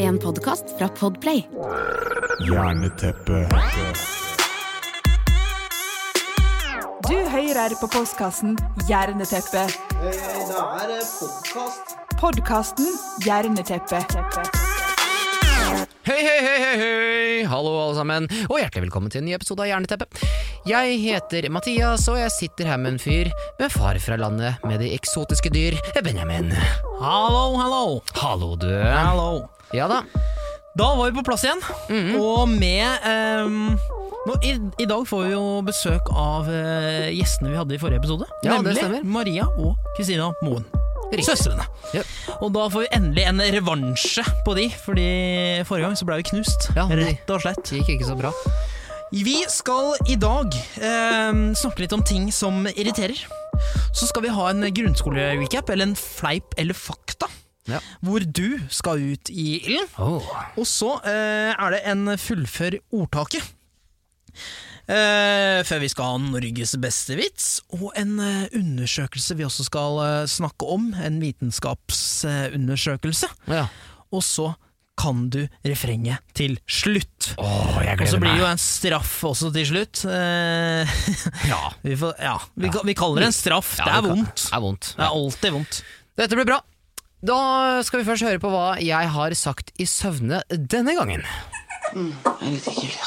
en podkast fra Podplay. Jerneteppet. Du hører på postkassen Hjerneteppe. Det er podkast. Podkasten Hjerneteppe. Hei, hei, hei, hei, hei! Hallo, alle sammen, og hjertelig velkommen til en ny episode av Jerneteppet. Jeg heter Mathias, og jeg sitter her med en fyr med far fra landet med de eksotiske dyr, Benjamin. Hallo, hallo. Hallo, du. Hallo. Ja da. Da var vi på plass igjen, Mhm. og med ehm, nå, i, I dag får vi jo besøk av eh, gjestene vi hadde i forrige episode. Ja, det nemlig stemmer. Maria og Kristina Moen. Riktig. Søstrene. Ja. Og da får vi endelig en revansje på de, fordi forrige gang så ble vi knust. Ja, det- rett og slett. Det gikk ikke så bra. Vi skal i dag ehm, snakke litt om ting som irriterer. Så skal vi ha en grunnskolerecap, eller en fleip eller fakta, Ja. hvor du skal ut i ilden. Oh. Og så eh, er det en fullfør ordtaket. Eh, før vi skal ha Norges beste vits, og en eh, undersøkelse vi også skal eh, snakke om. En vitenskapsundersøkelse. Ja. og så kan du refrenget til slutt. Åh, jeg Og så gleder blir det jo meg. en straff også til slutt. Eh, Ja. vi, får, ja, vi, ka- vi kaller det en straff. Ja, det er kan- vondt. Det er vondt. Det er alltid vondt. Dette blir bra. Da skal vi først høre på hva jeg har sagt i søvne denne gangen. Jeg vet ikke, altså. Jeg vet ikke,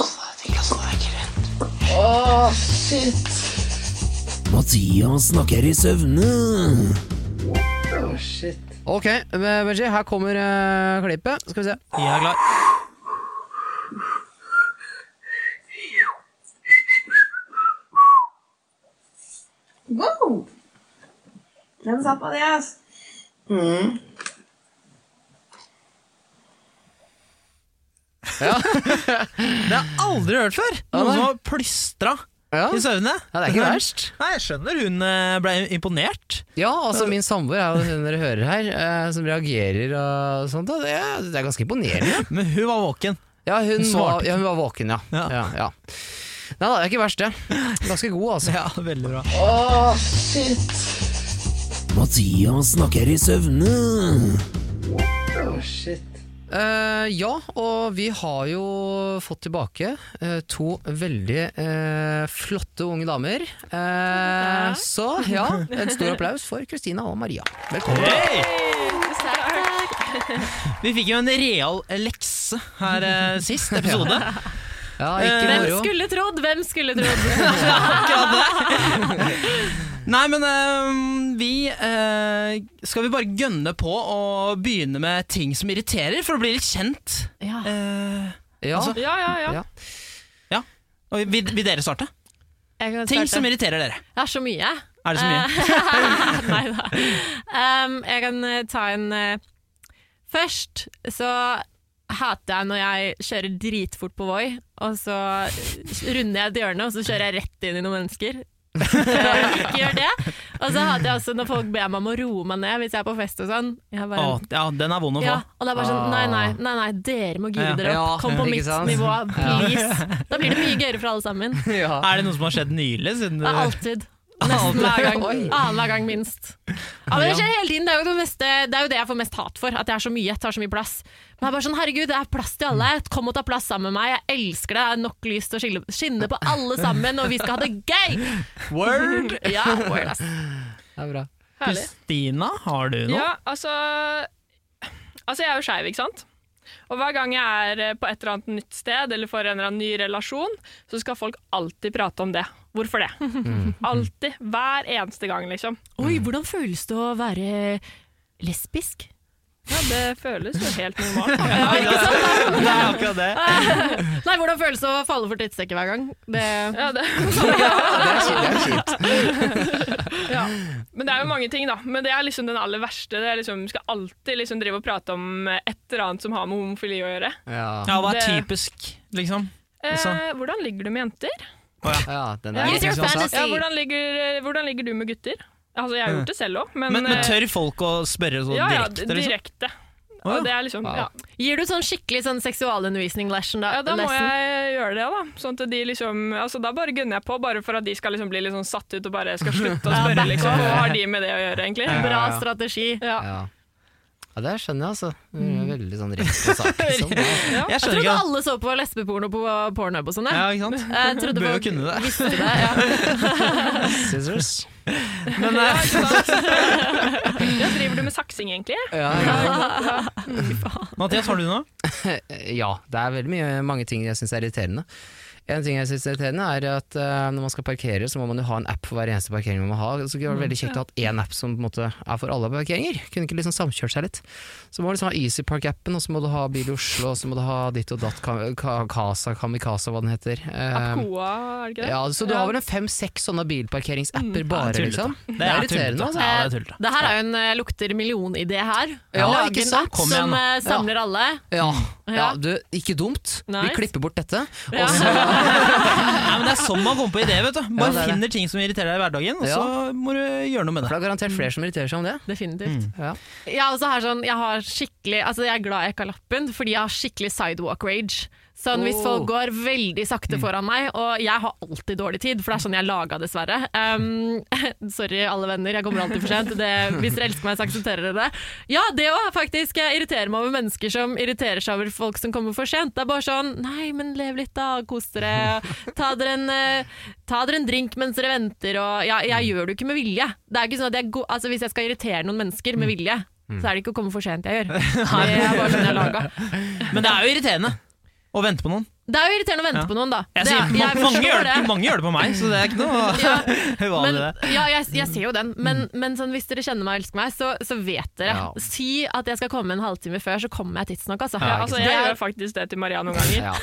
altså. Det er ikke rett. Mathias snakker i søvne. Ok, Benji, her kommer eh, klippet. Skal vi se. Jeg er glad. Wow! Den satt på det, ass. Det har jeg aldri hørt før! Ja, Noen nei. som har plystra Ja. i søvne. Ah. Ja, det er ikke verst. Nei, jeg skjønner hun eh, ble imponert. Ja, altså min samboer er jo hun dere hører her, eh, som reagerer og sånt. og Det, er- det er ganske imponerende. Men hun var våken. Ja, hun, Hun var, svarte ja, hun var våken, ja. ja. Ja. ja, Nei da, det er ikke verst, det. Ganske god, altså. Ja, veldig bra. Mathias snakker i søvne. Eh, ja, og vi har jo fått tilbake eh, to veldig eh, flotte unge damer. Eh, så ja, en stor applaus for Kristina og Maria. Velkommen. Hei! Vi fikk jo en real lekse her eh, sist episode. Ja, ikke Hvem moro. Skulle trodd, hvem skulle trodd? Nei, men eh, vi eh, Skal vi bare gønne på og begynne med ting som irriterer, for å bli litt kjent? Ja. Eh, Ja, Altså, Ja, ja, ja. Ja. og vil, vil dere starte? Jeg kan Ting starte. som irriterer dere. Jeg har så mye. Er det så mye? Nei da. Um, jeg kan eh, ta en eh, Først så hater jeg når jeg kjører dritfort på Voi, og så runder jeg et hjørne, og så kjører jeg rett inn i noen mennesker. Eh, ikke gjør det. Og så hater jeg også når folk ber meg om å roe meg ned hvis jeg er på fest og sånn. Jeg bare, Å, ja, den er vond å få. Ja, og det er bare sånn Nei, nei, nei, nei dere må gire dere Ja, opp. Kom på ikke mitt sant? nivå, please. Da blir det mye gøyere for alle sammen. ja. Er det noe som har skjedd nylig? Siden Det er du, alltid. Nesten hver gang. Oi. Annenhver gang, minst. Ja, men det skjer hele tiden. Det er, jo det, meste, det er jo det jeg får mest hat for. At jeg er så mye, jeg tar så mye plass. Men jeg er bare sånn, herregud, det er plass til alle. Kom og ta plass sammen med meg. Jeg elsker det. Jeg har nok lyst til å skille- skinne på alle sammen, og vi skal ha det gøy! Word! Ja, word, ass. Det er bra. Herlig. Stina, har du noe? Ja, altså Altså, jeg er jo skeiv, ikke sant? Og hver gang jeg er eh, på et eller annet nytt sted eller får en eller annen ny relasjon, så skal folk alltid prate om det. Hvorfor det? Mm. Alltid. Hver eneste gang, liksom. Oi, hvordan føles det å være lesbisk? Ja, det føles jo helt normalt. Det er akkurat det. Nei, hvordan føles det å falle for tidssekker hver gang? Det Ja, det. ja. Men det er jo mange ting, da. Men det er liksom den aller verste. Det er liksom, skal alltid liksom drive og prate om et eller annet som har med homofili å gjøre. Ja, Ja, hva er Det- typisk, liksom? Eh, Altså- hvordan ligger du med jenter? ja den Ja. er Use your Liksom, fantasy. Ja, hvordan ligger, eh, hvordan ligger du med gutter? Altså, jeg har gjort det selv òg, men, Men, men eh, tør folk å spørre så ja, ja, direkte? direkte. Liksom? Å, ja. Og det er liksom, ja. Gir du sånn skikkelig sånn seksualundervisning-lesson da? ja, da må lesson? jeg gjøre det, da. Sånn at de liksom, altså, da bare gunner jeg på, bare for at de skal liksom bli litt sånn satt ut og bare skal slutte å spørre, liksom. Hva har de med det å gjøre, egentlig? Bra strategi. Ja. Ja. Ja, det skjønner jeg, altså. Det er Veldig sånn rett på sak. Liksom. Ja. Jeg Jeg skjønner trodde ikke. alle så på lesbeporno på Pornhub og sånn. Ja, jeg. ikke sant? Jeg trodde Bør jo folk kunne det. visste det. Ja. Scissors. Men eh, Ja, driver du med saksing, egentlig? Ja, ja. Mathias, har du noe? Eh, ja, det er veldig mye, mange ting jeg syns er irriterende. En ting jeg synes er irriterende er at eh, når man skal parkere, så må man jo ha en app for hver eneste parkering man må ha. Så det var veldig kjekt å ha hatt én app som på en måte er for alle parkeringer. Kunne ikke liksom samkjørt seg litt. Så må du liksom ha EasyPark-appen, og så må du ha Bil i Oslo, og så må du ha ditt og datt, ka, ka, Kasa, Kamikaze, hva den heter. Eh, Apkoa, er det ikke det? ja, så du har vel en fem-seks sånne bilparkeringsapper bare, tullete. liksom. Det er tullete. altså. Ja, det er tullete. Det her er jo en eh, lukter million-idé her. Ja, Lage ikke en sant? app Kom igjen, Som da. eh, samler alle. Ja, ja Ja. du, ikke dumt. Vi Nice. klipper bort dette. Ja. Og så Nei, men Det er sånn man kommer på ideer. vet du Ja, det Bare er det. finner ting som irriterer deg i hverdagen, og Ja. så må du gjøre noe med For det. det er garantert flere som irriterer seg om det. Definitivt. Ja. Jeg, er også her sånn, jeg, har skikkelig, altså jeg er glad jeg ikke har lappen, fordi jeg har skikkelig sidewalk rage. Sånn, Hvis Oh. folk går veldig Mm. sakte foran meg, og jeg har alltid dårlig tid, for det er sånn jeg er laga, dessverre. Um, sorry, alle venner, jeg kommer alltid for sent. Det, hvis dere elsker meg, så aksepterer dere det. Ja, det òg, faktisk. Jeg irriterer meg over mennesker som irriterer seg over folk som kommer for sent. Det er bare sånn Nei, men lev litt, da. Kos dere. Ta dere en, eh, ta dere en drink mens dere venter. Og ja, Mm. jeg gjør det jo ikke med vilje. Det er ikke sånn at jeg, go- altså, hvis jeg skal irritere noen mennesker Mm. med vilje, så er det ikke å komme for sent jeg gjør. Det er bare sånn jeg er laget. Men det er jo irriterende å vente på noen. Det er jo irriterende å vente Ja. på noen, da. Jeg Det sier, er- ma- jeg mange, forstår gjør det. det. mange gjør det på meg, så det er ikke noe Ja. uvanlig. det. Mm. Men, ja, jeg, jeg ser jo den, men, men sånn, hvis dere kjenner meg og elsker meg, så, så vet dere. Ja. Si at jeg skal komme en halvtime før, så kommer jeg tidsnok. Altså. Ja, altså, jeg gjør faktisk det til Maria noen ganger. Ja.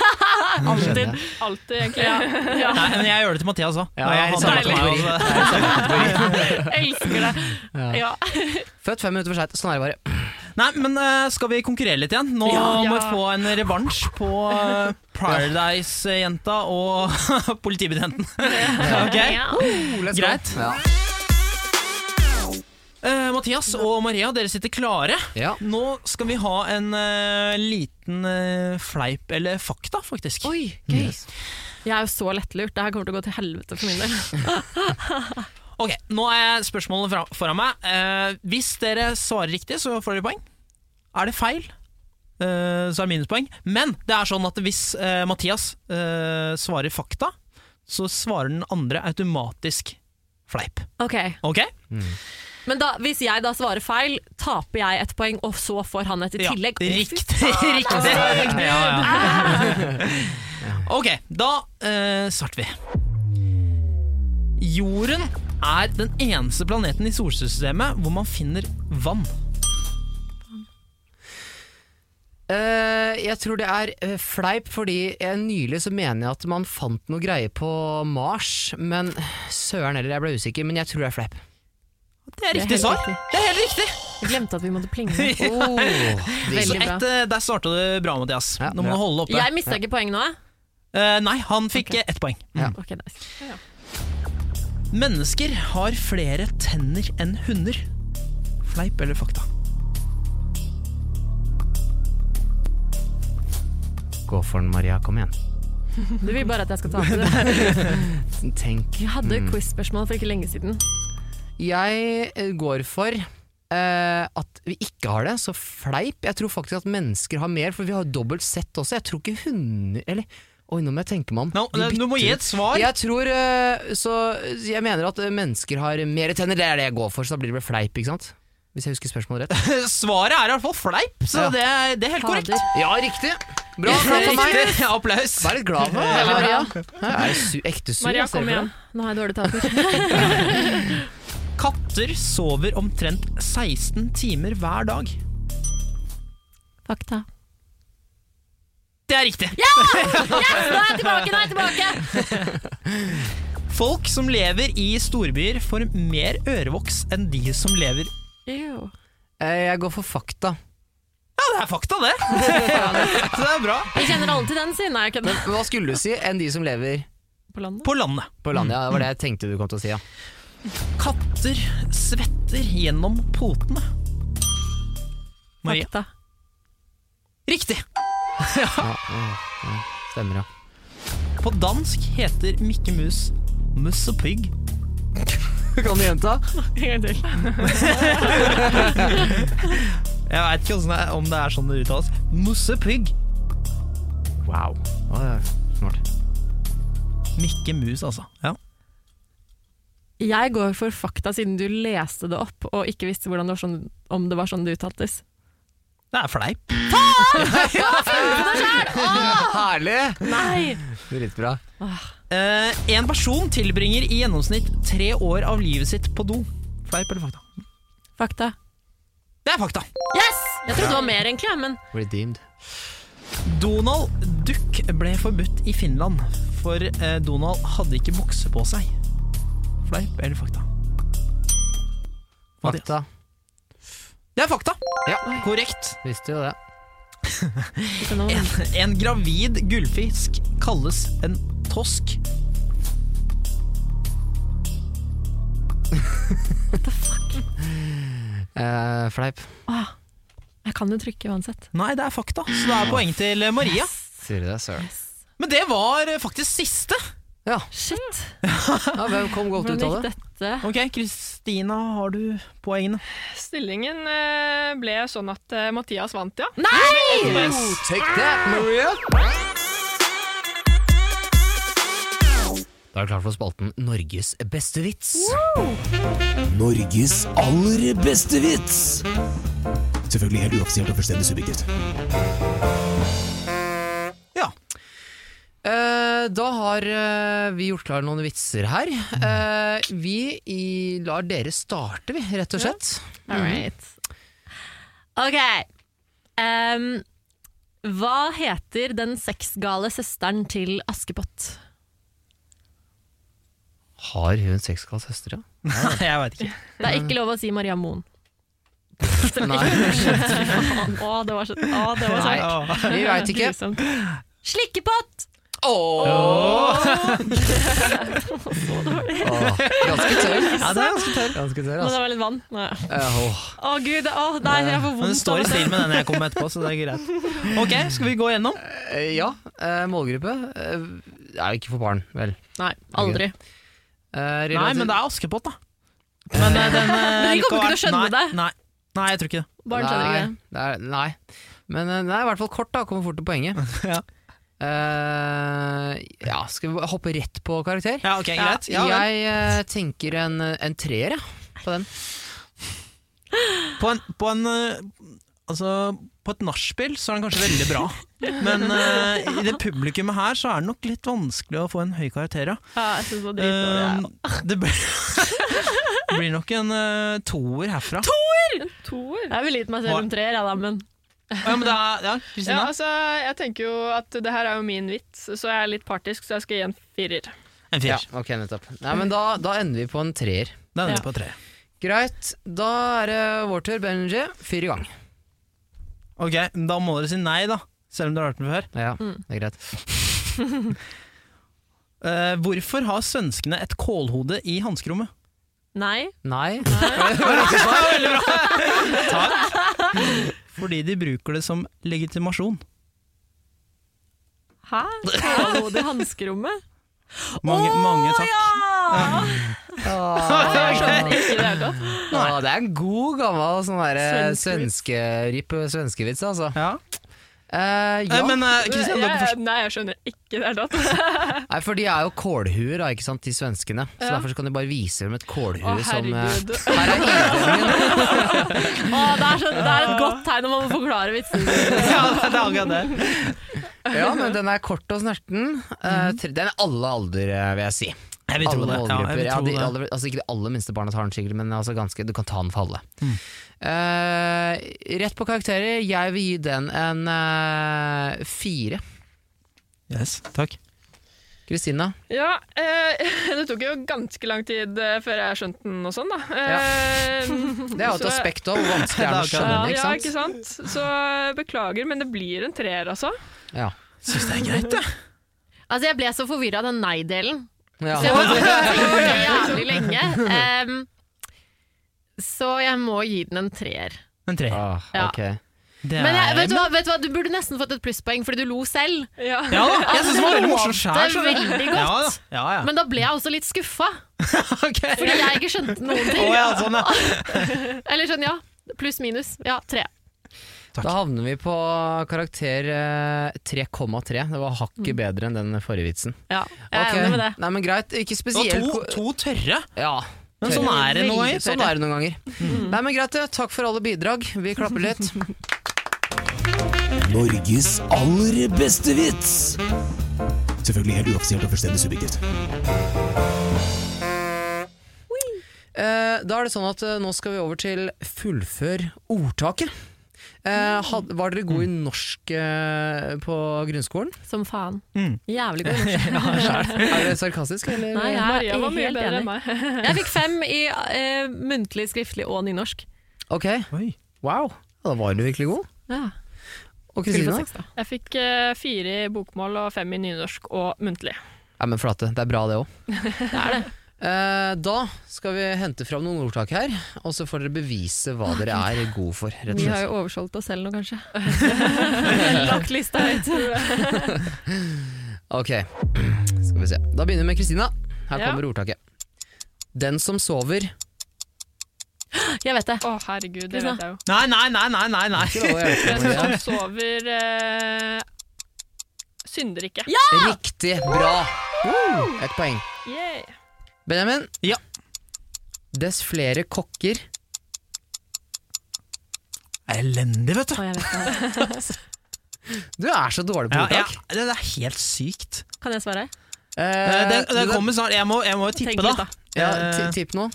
alltid. Alltid, egentlig. Ja. Nei, men jeg gjør det til Mathias òg. Ja, jeg er i samme kategori. Jeg er i samme kategori. Elsker det. Ja. Født fem minutter for seint. Sånn er det bare. Nei, men eh, skal vi konkurrere litt igjen? Nå Ja. må vi få en revansj på eh, Paradise-jenta og politibetjenten. ok, greit. Ja. Eh, Mathias og Maria, dere sitter klare. Ja. Nå skal vi ha en eh, liten eh, fleip eller fakta, faktisk. Oi, gøy. Jeg er jo så lettlurt. Det her kommer til å gå til helvete for min del. Ok, Nå er spørsmålet fra, foran meg. Eh, hvis dere svarer riktig, så får dere poeng. Er det feil, eh, så er det minuspoeng. Men det er sånn at hvis eh, Mathias eh, svarer fakta, så svarer den andre automatisk fleip. Ok, Ok? Men da, hvis jeg da svarer feil, taper jeg ett poeng, og så får han et i tillegg. Å, fy altså. Riktig! riktig. Ja, ja. Ok, da eh, starter vi. Jorden er den eneste planeten i solsystemet hvor man finner vann. Eh, jeg tror det er eh, fleip, fordi eh, nylig så mener jeg at man fant noe greie på Mars. Men søren heller, jeg ble usikker, men jeg tror det er fleip. Det er Det er riktig helt svar. riktig. Det er helt riktig! Jeg glemte at vi måtte plinge. Oh, Så Veldig bra. ett, eh, der starta det bra, Mathias. Ja, nå må bra. du holde oppe. Jeg mista ikke poeng nå? eh? Eh, nei, han fikk eh, ett poeng. Ja. Ok, nice. Mennesker har flere tenner enn hunder. Fleip eller fakta? Gå for den, Maria. Kom igjen. Du vil bare at jeg skal tape det. Tenk. Vi hadde quiz-spørsmål for ikke lenge siden. Jeg eh, går for eh, at vi ikke har det, så fleip. Jeg tror faktisk at mennesker har mer, for vi har jo dobbelt sett også. Jeg tror ikke hunder Eller oi, nå må jeg tenke meg om. No, De bytter du må gi ut. et svar. Jeg tror eh, Så jeg mener at eh, mennesker har mer tenner, det er det jeg går for, så da blir det vel fleip, ikke sant? Hvis jeg husker spørsmålet rett. Svaret er i hvert fall fleip, så Ja. det, er, det er helt korrekt. Fader. Ja, riktig! Bra, bra for meg! Riktig. Applaus. Vær litt glad for meg. Veldig bra. Jeg er su ekte sur. Maria, jeg ser kom for igjen. Nå har jeg dårlig taper. Katter sover omtrent 16 timer hver dag. Fakta. Det er riktig. Nå er jeg tilbake, nå er jeg tilbake! Folk som lever i storbyer, får mer ørevoks enn de som lever det. Eh, Jeg går for fakta. Ja, det er fakta, det! så det er bra. Jeg kjenner alle til den siden. Nei, jeg kødder. Hva skulle du si enn de som lever På landet? På landet. på landet? Ja, det var det jeg tenkte du kom til å si, ja. Katter svetter gjennom potene. Maria. Fakta. Riktig! Stemmer, ja. På dansk heter Mikke Mus Muss og Pygg. Kan du gjenta? En gang til. Jeg veit ikke hvordan det er, om det er sånn det uttales. Mussepigg. Wow. Ja, det er smart. Mikke Mus, altså. Ja. Jeg går for fakta siden du leste det opp og ikke visste hvordan det var sånn, om det var sånn det uttaltes. Det er fleip. Herlig! Nei! Dritbra. Eh, en person tilbringer i gjennomsnitt tre år av livet sitt på do. Fleip eller fakta? Fakta. Det er fakta. Yes! Jeg trodde det var mer, egentlig, men Redeemed. Donald Duck ble forbudt i Finland, for eh, Donald hadde ikke bukse på seg. Fleip eller fakta? Mathias. Fakta. Det er fakta! Ja. Korrekt. Visste jo det. ikke noe. En, en gravid gullfisk kalles en tosk. Eh, fleip. Åh, jeg kan jo trykke uansett. Nei, det er fakta, så det er poeng til Maria. Sier du det, søren. Men det var eh, faktisk siste. Ja, Shit! ja hvem kom godt ut Mm. Hvordan av gikk det? dette? Ok, Kristina, har du poengene? Stillingen eh, ble sånn at eh, Mathias vant, ja. Nei! Take that, Maria! Da er det klart for spalten Norges beste vits. Norges aller beste vits. Selvfølgelig helt uoffisielt og fullstendig subjektivt. Ja. Eh, da har eh, vi gjort klar noen vitser her. Eh, vi i, lar dere starte, vi, rett og slett. All right. Ok. Em, hva heter den sexgale søsteren til Askepott? Har hun sexgal søster, ja? Jeg veit ikke. Det Mm. er ikke lov å si Maria Moen. Nei, Å, det var så Å, det var Nei. så vi veit ikke. Grusomt. Slikkepott! Åh, ganske tørr. Ja, det er ganske tørr. Ganske tørr, Men altså. det var litt vann. Nei. Eh, åh. Å gud, å, nei, jeg får Men det vondt står i av det. stil med den jeg kom med etterpå, så det er greit. Ok, skal vi gå gjennom? Eh, ja, eh, målgruppe eh, er ikke for barn, vel. Nei, aldri. Eh, Nei, men det er Askepott, da. Men eh, den Men de kommer ikke til å skjønne nei, det. Nei, nei, jeg tror ikke det. Barn skjønner ikke Nei, det. det er- nei. men eh, den er i hvert fall kort, da. Kommer fort til poenget. Ja. Eh, ja, skal vi hoppe rett på karakter? Ja, ok, greit. Ja, vel. jeg eh, tenker en, en treer, jeg, på den. På, en, på, en, eh, altså, på et nachspiel så er den kanskje veldig bra, men eh, i det publikummet her så er det nok litt vanskelig å få en høy karakter, ja. Ja, jeg synes det var dritdårlig, Um, jeg. Eh, det blir, blir nok en eh, toer herfra. Toer. Jeg ville gitt meg selv en treer, jeg da, men Ja, men det er, ja, Ja, Kristina? altså, jeg tenker jo at det her er jo min vits, så jeg er litt partisk, så jeg skal gi en firer. altså. En firer. Ja, ok, nettopp. Nei, men da, da ender vi på en treer. Den er Ja. på tre. Greit, da er det vår tur. Benji, fyr i gang. Ok, da må dere si nei, da. Selv om dere har hørt den før. Ja, det er greit. Eh, hvorfor har svenskene et kålhode i hanskerommet? nei. Nei. Takk! Fordi de bruker det som legitimasjon. Hæ? Kålhode i hanskerommet? Mange, mange takk. Ja! Jeg skjønner ikke i det hele tatt. Å, det er en god gammel sånn derre svenskerip svenskevits, altså. Ja. Eh, ja. Eh, men eh, Kristian, dere jeg, nei, jeg skjønner ikke det hele tatt. Nei, for de er jo kålhuer, da, ikke sant, de svenskene. Så Ja. derfor så kan de bare vise dem et kålhue Å, som eh, herregud. Her er ideen min! Å, det, er så, det er et godt tegn om man må forklare vitsen. forstår- ja, det er akkurat det. Ja, men den er kort og snerten. Eh, tre- den er alle alder, eh, vil jeg si. Jeg vil tro Alle det. Ja, jeg målgrupper. vil Ja, tro de, det. aller, altså ikke de aller minste barna tar den sikkert, men altså ganske, du kan ta den for alle. Eh, rett på karakterer. Jeg vil gi den en eh, fire. Yes, takk. Kristina? Ja, eh, det tok jo ganske lang tid eh, før jeg skjønte den og sånn, da. Eh, Det er jo et Så- aspekt av hvor vanskelig det er å Det er skjønne det, ja, ikke ikke sant? sant? Så eh, beklager, men det blir en treer, altså. Ja. Syns det er greit, det. Altså, jeg ble så forvirra av den nei-delen. Ja. Så jeg måtte tenke på det jævlig lenge. Ehm, så jeg må gi den en treer. En tre. Ah, Ja. ok. Det Men jeg, er- vet, du hva, vet du hva, du burde nesten fått et plusspoeng, fordi du lo selv. Ja. Ja da, jeg syns det var veldig det morsomt låter sjæl. veldig godt. Ja, da. ja, ja. Men da ble jeg også litt skuffa, Ok. fordi jeg ikke skjønte Å noen altså. ting. ja, sånn, ja. Eller sånn, ja. Pluss, minus. Ja, tre. Da havner vi på karakter eh, 3,3. Det var hakket bedre enn den forrige vitsen. Mm. Ja, jeg er Ok. enig med det. Nei, men greit. Det Ikke var spesielt to, ko- to tørre, Ja. men sånn er det noen Veldig ganger. Sånn er det noen ganger. Mm. Nei, men greit, det. Takk for alle bidrag. Vi klapper litt. Norges aller beste vits. Selvfølgelig helt uoffisielt og fullstendig subjektivt. Eh, da er det sånn at eh, nå skal vi over til fullfør ordtaket. Eh, Mm. had, var dere gode i norsk eh, på grunnskolen? Som faen. Mm. Jævlig god norsk. Er det sarkastisk, eller? Nei, jeg Maria er var mye helt bedre enn enig. meg. Jeg fikk fem i eh, muntlig, skriftlig og nynorsk. Ok, Oi. wow. Ja, Da var du virkelig god. Ja. Og Skulle Kristina? fått seks, da. Jeg fikk eh, fire i bokmål og fem i nynorsk og muntlig. Ja, men flate, det er bra det òg. Eh, da skal vi hente fram noen ordtak her, og så får dere bevise hva dere er gode for. rett og Vi har slett. jo oversolgt oss selv nå, kanskje. Lagt lista høyt. Ok, skal vi se. Da begynner vi med Kristina. Her Ja. kommer ordtaket. Den som sover Jeg vet det. Å, herregud, det vet jeg jo. Nei, nei, nei, nei, nei, nei. Den som sover eh, synder ikke. Riktig bra! Ett poeng. Yay. Benjamin? Ja. Dess flere kokker Elendig, vet du. Å, jeg vet det. Du er så dårlig på Ja, ja, ordtak. det er helt sykt. Kan jeg svare? Eh, Eh, Den, den du- kommer snart. Jeg må, jeg må jo Tenk tippe, litt, da. ja, Eh, ti- Tipp nå.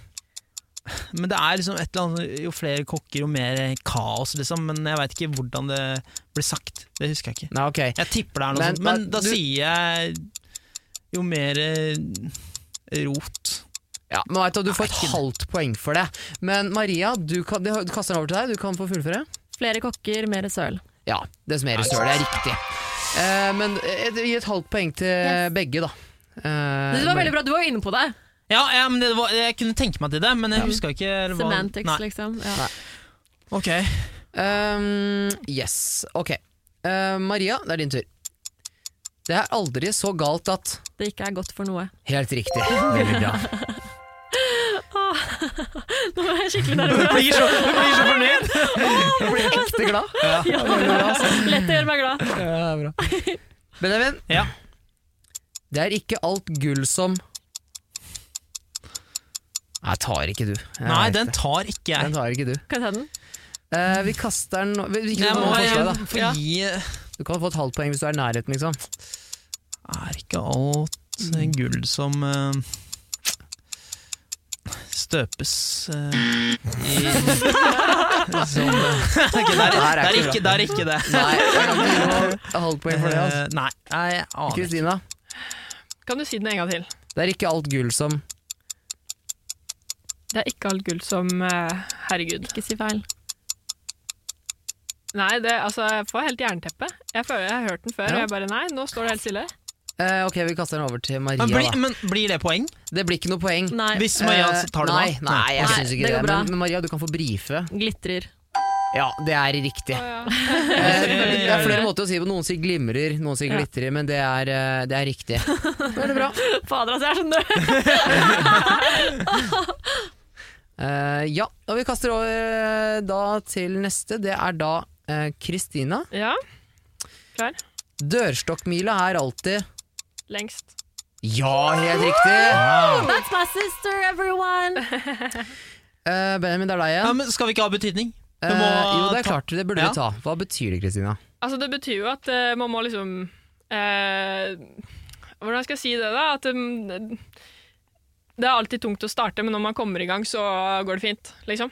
Men det er liksom et eller annet Jo flere kokker, jo mer kaos, liksom. Men jeg veit ikke hvordan det blir sagt. Det husker jeg ikke. Nei, ok. Jeg tipper det er noe Men sånt, men da da- du- sier jeg jo mer eh, rot. Ja, men vet du, du får et Nei, ikke- halvt poeng for det. Men Maria, du kan, det det kaster jeg over til deg. Du kan få fullføre. Flere kokker, mer søl. Ja, det som er i søl, det er riktig. Eh, men eh, gi et halvt poeng til Yes. begge, da. Eh, Det var Maria. veldig bra, du var jo inne på det. Ja, ja men det var, jeg kunne tenke meg til det, men jeg huska ikke hva- Semantics, Nei. liksom. Ja. Ok. Um, yes, ok. Eh, Maria, det er din tur. Det er aldri så galt at Det ikke er godt for noe. Helt riktig. Veldig bra. Nå er jeg Du skikkelig nervøs. blir så, du blir så fornøyd! Jeg blir ekte glad. Ja. altså. Lett å gjøre meg glad. Benjamin, Ja. det er ikke alt gull som Nei, tar ikke du. Jeg Nei, vet den det. tar ikke jeg. den tar ikke du. Kan jeg ta den? Eh, vi kaster den nå vi- vi- Jeg du, må kan få et jeg forslag, da. får Ja. gi du kan få et halvt poeng hvis du er i nærheten, liksom. Er ikke alt gull som eh, støpes eh, i som, eh, ok, det, er, det, er ikke, det er ikke det. Nei, jeg kan ikke gi noe halvt poeng for det. Altså. Eh, Nei, jeg aner ikke. Kristina, Kan du si den en gang til? det er ikke alt gull som Det er ikke alt gull som eh, Herregud. Ikke si feil. Nei, det, altså, jeg får helt jernteppe. Jeg føler jeg har hørt den før, Ja. og jeg bare nei, nå står det helt stille. Eh, Ok, vi kaster den over til Maria. Men, blir- Da. men blir det poeng? Det blir ikke noe poeng. Nei. Hvis Maria Eh, tar det nei, nå? nei, jeg Nei, syns ikke det det. går bra. Men, men Maria, du kan få brife. Glitrer. Ja, det er riktig. Å, ja. Eh, Det er flere måter å si det på. Noen sier glimrer, noen sier glitrer, men det er, eh, det er riktig. Veldig bra. Fader, altså, jeg er så nød. Eh, ja, og vi kaster over eh, da til neste. Det er da eh, Kristina. ja. Klar? Dørstokkmila er alltid Lengst. Ja, helt riktig! That's my sister, everyone! Eh, Benjamin, det er deg Ja, igjen. men skal vi ikke ha betydning? Vi Eh, må jo, det er ta- klart, det burde Ja. vi ta. Hva betyr det, Kristina? Altså, det betyr jo at eh, man må liksom eh, Hvordan skal jeg si det, da? At mm, det er alltid tungt å starte, men når man kommer i gang, så går det fint, liksom.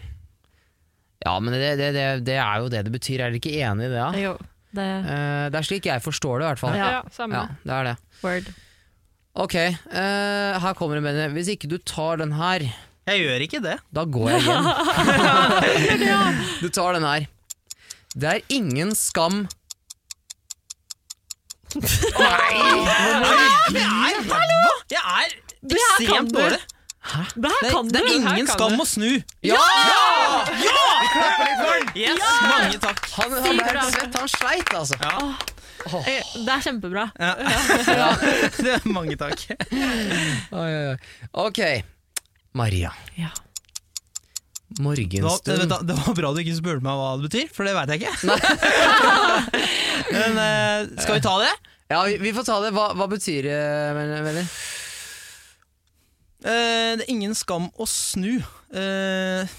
Ja, men det, det, det, det er jo det det betyr. Er dere ikke enig i det? da? Jo, det Eh, det er slik jeg forstår det, i hvert fall. Ja. Ja, samme. Ja, det er det. word. Ok, eh, her kommer det, Benjamin. Hvis ikke du tar den her, Jeg gjør ikke det. Da går jeg hjem. Du tar den her. Det er ingen skam Jeg er ræva! Jeg er ekstremt dårlig. Det her Det, kan du! det er Her ingen kan skam du. å snu. Ja! Yes, mange takk. Han, han ble helt svett, han sleit, altså. Ja. Det er kjempebra. Ja. Det er mange takk. Oi, oi, oi. Ok, Maria. Ja. Det var, eh, vent Morgenstund. da, det var bra du ikke spurte meg hva det betyr, for det veit jeg ikke. Men eh, skal vi ta det? Ja, vi, vi får ta det. Hva, hva betyr det, Mel- Melly? Eh, det er ingen skam å snu. Eh,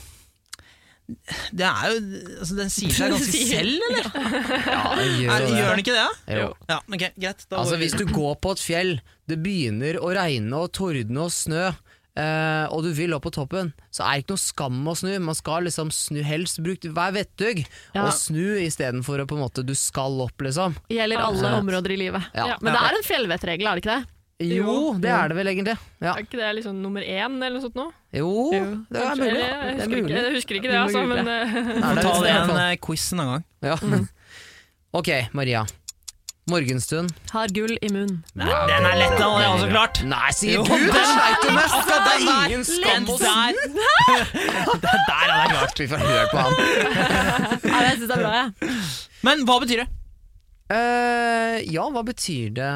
det er jo altså, Den sier seg ganske selv, eller? Ja, det Er, gjør jo gjør den det. ikke det? da? Jo. Ja, ok, greit. Da Altså, går vi hvis du går på et fjell, det begynner å regne og tordne og snø, eh, og du vil opp på toppen, så er det ikke noe skam å snu. Man skal liksom snu helst. Bruk, vær vettug Ja. og snu istedenfor å på en måte Du skal opp, liksom. Gjelder alle Absolutt. områder i livet. Ja. Men det er en fjellvettregel, er det ikke det? Jo, det er det vel egentlig. Ja. Er ikke det liksom nummer én eller noe sånt nå? Jo, det er Kanskje- mulig. eller Jeg Det er husker, mulig. Ikke, jeg husker ikke Vi det, må altså, google. men eh, Nei, får det ta er det i det i en hvert eh, quiz en annen gang. fall. Ja. Ok, Maria. Morgenstund. Har gull i munnen. Den er lett, den er også klart. Nei, sier Jo, du! den- Det sleit du med! Akkurat Det den er der! ingen Den skam å snu! der! Den der er klart. Vi får høre på han. Ja, jeg syns det er bra, jeg. Men hva betyr det? Eh, ja, hva betyr det,